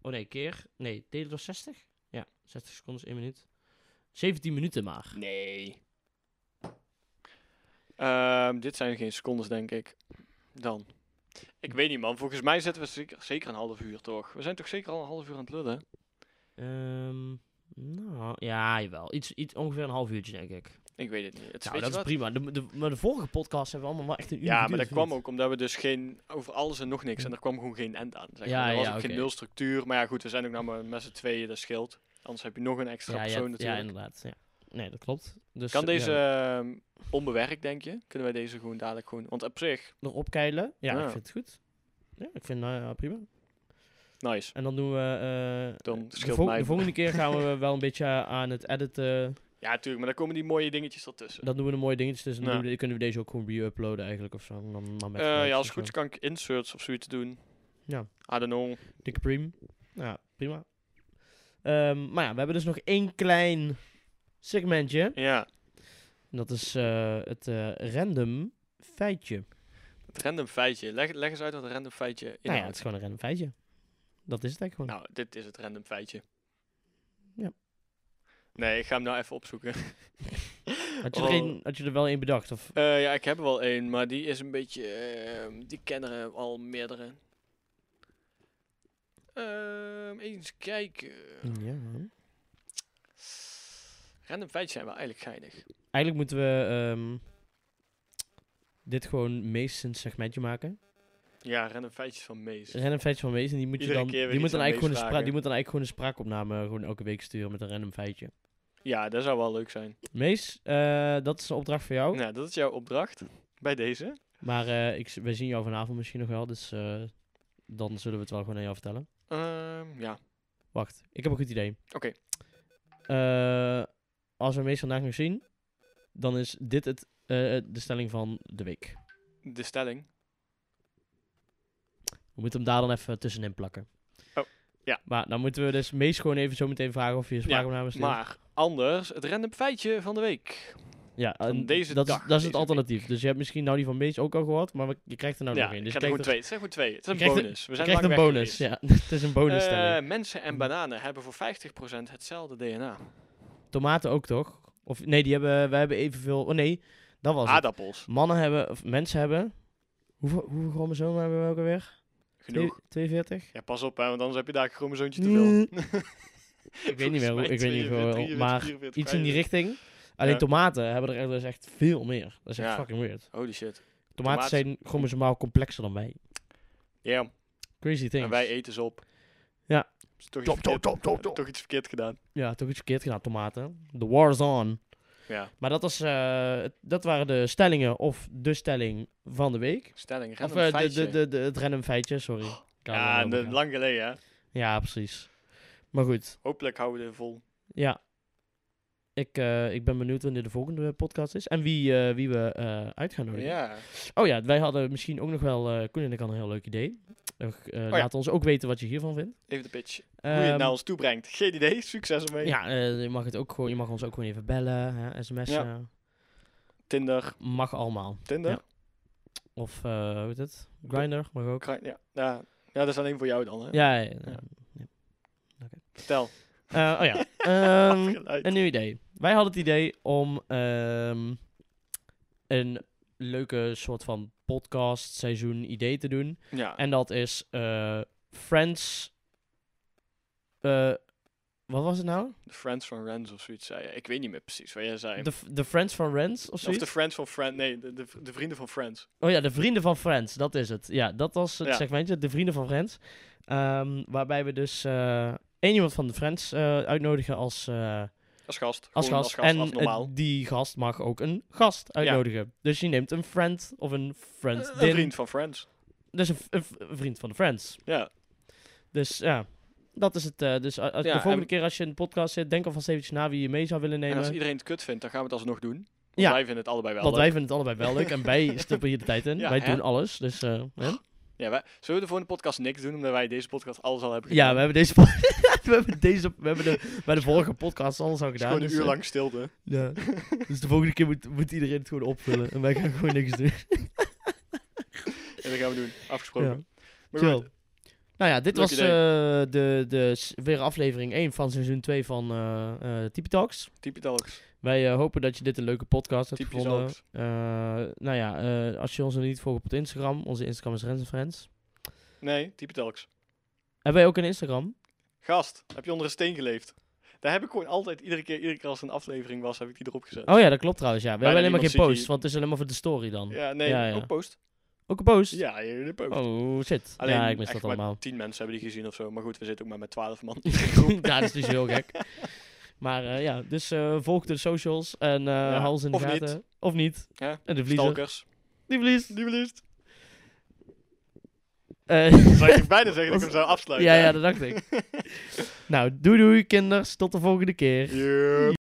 Oh nee, keer. Nee, delen door 60. Ja, 60 seconden is 1 minuut. 17 minuten maar. Nee. Ehm, dit zijn geen secondes, denk ik. Dan. Ik weet niet, man. Volgens mij zetten we zeker, zeker een half uur, toch? We zijn toch zeker al een half uur aan het lullen? Ehm, nou, ja, jawel. Iets, iets, ongeveer een half uurtje, denk ik. Ik weet het niet. Het, Nou, weet je dat is wat? prima. De, de, maar de vorige podcast hebben we allemaal wel echt een uur Ja, maar dat geduurd, kwam of ook omdat we dus geen, over alles en nog niks. En er kwam gewoon geen end aan. Zeg maar. Ja, er was ja, ook geen oké. nul structuur. Maar ja, goed, we zijn ook nou maar met z'n tweeën, dat scheelt. Anders heb je nog een extra niet? ja, persoon ja, ja, natuurlijk. inderdaad. Ja. Nee, dat klopt. Dus, kan eh, ja, deze ehm, onbewerkt, denk je? Kunnen wij deze gewoon dadelijk gewoon... Want op zich, nog opkeilen? Ja, Ja. ik vind het goed. Ja, ik vind nou ja, prima. nice. En dan doen we... eh, Dan de scheelt vol- mij- De volgende keer gaan we wel een beetje aan het editen. Ja, natuurlijk. Maar dan komen die mooie dingetjes ertussen. Dan doen we een mooie dingetjes. Dus dan Ja. doen we- kunnen we deze ook gewoon re-uploaden eigenlijk of zo. Dan, dan met Eh, geluidjes ja, als en het goed is zo. kan ik inserts of zoiets doen. Ja. I don't know. Dikke prim. Ja, prima. Ehm, maar ja, we hebben dus nog één klein segmentje. Ja, En dat is eh, het eh, random feitje. het random feitje. Leg, leg eens uit wat een random feitje Nou ja, het inhoudt. is gewoon een random feitje. Dat is het eigenlijk gewoon. Nou, dit is het random feitje. Ja. Nee, ik ga hem nou even opzoeken. had, je er oh. één- had je er wel één bedacht? Of, Eh, ja, ik heb er wel één, maar die is een beetje... ehm, die kennen er al meerdere. Ehm, eens kijken. ja. Random feitjes zijn wel eigenlijk geinig. Eigenlijk moeten we ehm, dit gewoon meest een segmentje maken. Ja, random feitjes van Mees. Random feitje van wezen. Die moet, je Iedere dan, keer weer die, moet iets dan aan eigenlijk gewoon een Mees spra- vragen. die moet dan eigenlijk gewoon een spraakopname gewoon elke week sturen met een random feitje. Ja, dat zou wel leuk zijn. Mees, eh, dat is een opdracht voor jou. Nou, dat is jouw opdracht bij deze. Maar eh, ik, we zien jou vanavond misschien nog wel. Dus eh, dan zullen we het wel gewoon aan jou vertellen. Ehm, ja, Wacht, ik heb een goed idee. Oké. Eh, als we meestal vandaag nog zien, dan is dit het, eh, de stelling van de week. de stelling. We moeten hem daar dan even tussenin plakken. Oh, ja. Maar dan moeten we dus Mees gewoon even zo meteen vragen of je een spraakopname stuurt. Maar anders, het random feitje van de week. ja, van en deze dat, dag, is, dat is deze het alternatief. Dus je hebt misschien nou die van Mees ook al gehoord, maar we- je krijgt er nou ja, nog een. ik Dus heb er gewoon krijgt twee. er- Het zijn gewoon twee. Het is een krijgt er- bonus. We je zijn krijgt lang een weg bonus. geweest. Ja, het is een bonus Hm. stelling. Eh, mensen en bananen hebben voor 50% hetzelfde DNA. Tomaten ook toch? Of nee, die hebben, wij hebben evenveel. Oh nee, dat Ah, was het. Aardappels. Mannen hebben, of mensen hebben. Hoeveel, hoeveel chromosomen hebben we ook alweer? Genoeg. Twee- 42? Ja, pas op, hè, want anders heb je daar een chromosoontje te Nee. veel. Ik weet niet meer hoe, ik weet niet hoeveel, maar iets in die richting. Alleen Ja. tomaten hebben er dus echt veel meer. Dat is echt Ja. fucking weird. Holy shit. Tomaten Tomaten- zijn chromosomaal complexer dan wij. Ja, Crazy things. en wij eten ze op. Ja. Is Toch Top, iets, top, verkeerd, top, top, top. toch iets verkeerd gedaan. Ja, toch iets verkeerd gedaan, tomaten. The war is on. Ja, Maar dat, was, eh, het- dat waren de stellingen of de stelling van de week. stelling. Of Random eh, de, feitje. Oh, de, de, de, het random feitje, sorry. Ik haal ja, het wel de- door lang geleden, hè. elkaar. ja, precies. Maar goed, Hopelijk houden we dit vol. ja. Ik, eh, ik ben benieuwd wanneer de volgende podcast is. En wie, eh, wie we eh uit gaan nodigen. Ja. Oh ja, wij hadden misschien ook nog wel... eh Koen en ik hadden een heel leuk idee. Eh, eh, Laat ons ook weten wat je hiervan vindt. Even de pitch. Hoe Oh je nou Ehm, het naar ons toe brengt. Geen idee. Succes ermee. ja, eh, je, mag het ook gewoon, je mag ons ook gewoon even bellen, hè, sms'en. Tinder. Mag allemaal. Tinder. Ja. Of, eh hoe heet het? Grindr mag ook. Kra- Ja. Ja. ja, dat is alleen voor jou dan. Hè? Ja, ja, ja. Vertel. Eh, oh ja. Ehm, Afgeleid. Een nieuw idee. Wij hadden het idee om ehm, een leuke soort van podcast seizoen idee te doen. Ja. En dat is eh, Friends. eh, wat was het nou? De Friends van Rens of zoiets zei je. Ik weet niet meer precies wat jij zei. De, de Friends van Rents of of zoiets? de Friends van Friends. Nee, de, de, de vrienden van Friends. Oh ja, de vrienden van Friends, dat is het. Ja, dat was het Ja. segmentje, de vrienden van Friends. Ehm, waarbij we dus eh één iemand van de Friends eh, uitnodigen als, eh, Als gast. als, Gewoon gast. Als gast. En als eh, normaal. die gast mag ook een gast uitnodigen. Dus je neemt een friend of een friend. Eh, een vriend van Friends. Dus een, v- een v- een vriend van de Friends. Ja. Dus ja, dat is het. eh, dus a- als- Ja, de volgende en- keer als je in de podcast zit, denk alvast eventjes na wie je mee zou willen En als nemen. iedereen het kut vindt, dan gaan we het alsnog doen. Want Ja. wij vinden het allebei wel Want wij leuk. vinden het allebei wel leuk en wij stippen hier de tijd in. Ja, wij hè? doen alles. Dus eh, hè? Ja, wij... Zullen we de volgende podcast niks doen, omdat wij deze podcast alles al hebben gedaan? ja, we hebben deze, po- we hebben deze, we hebben de, bij de vorige podcast alles al Het is gewoon gedaan. een dus, uur eh, lang stilte. Ja. Dus de volgende keer moet, moet iedereen het gewoon opvullen en wij gaan gewoon niks doen. En dat gaan we doen. Afgesproken. Ja. Maar Chill. goed, Nou ja, dit Leuk was idee. eh, de, de, s- weer aflevering 1 van seizoen 2 van eh eh Type Talks. Type Talks. Wij eh, hopen dat je dit een leuke podcast hebt Type gevonden. Talks. Eh, nou ja, eh, als je ons nog niet volgt op Instagram, onze Instagram is Rens en Friends. Nee, Type Talks. Hebben wij ook een Instagram? Gast, heb je onder een steen geleefd? Daar heb ik gewoon altijd, iedere keer, iedere keer als er een aflevering was, heb ik die erop gezet. Oh ja, dat klopt trouwens. Ja. We Bijna hebben helemaal niemand geen ziet post, die. want het is alleen maar voor de story dan. Ja, nee, Ja, ja. ook post. Ook een post? Ja, de post. Oh shit. Alleen ja, ik mis echt dat allemaal. maar tien mensen hebben die gezien of zo. Maar goed, we zitten ook maar met twaalf man. ja, dat is dus heel gek. Maar eh, ja, dus eh, volg de socials en eh hou ons in de of gaten. niet. Of niet. Ja, En de vliezen. Stalkers. Die vlies. Die verliest. Eh, Zou je bijna zeggen dat ik hem zou afsluiten? ja, ja, dat dacht ik. nou, doei doei kinders. Tot de volgende keer. Yeah.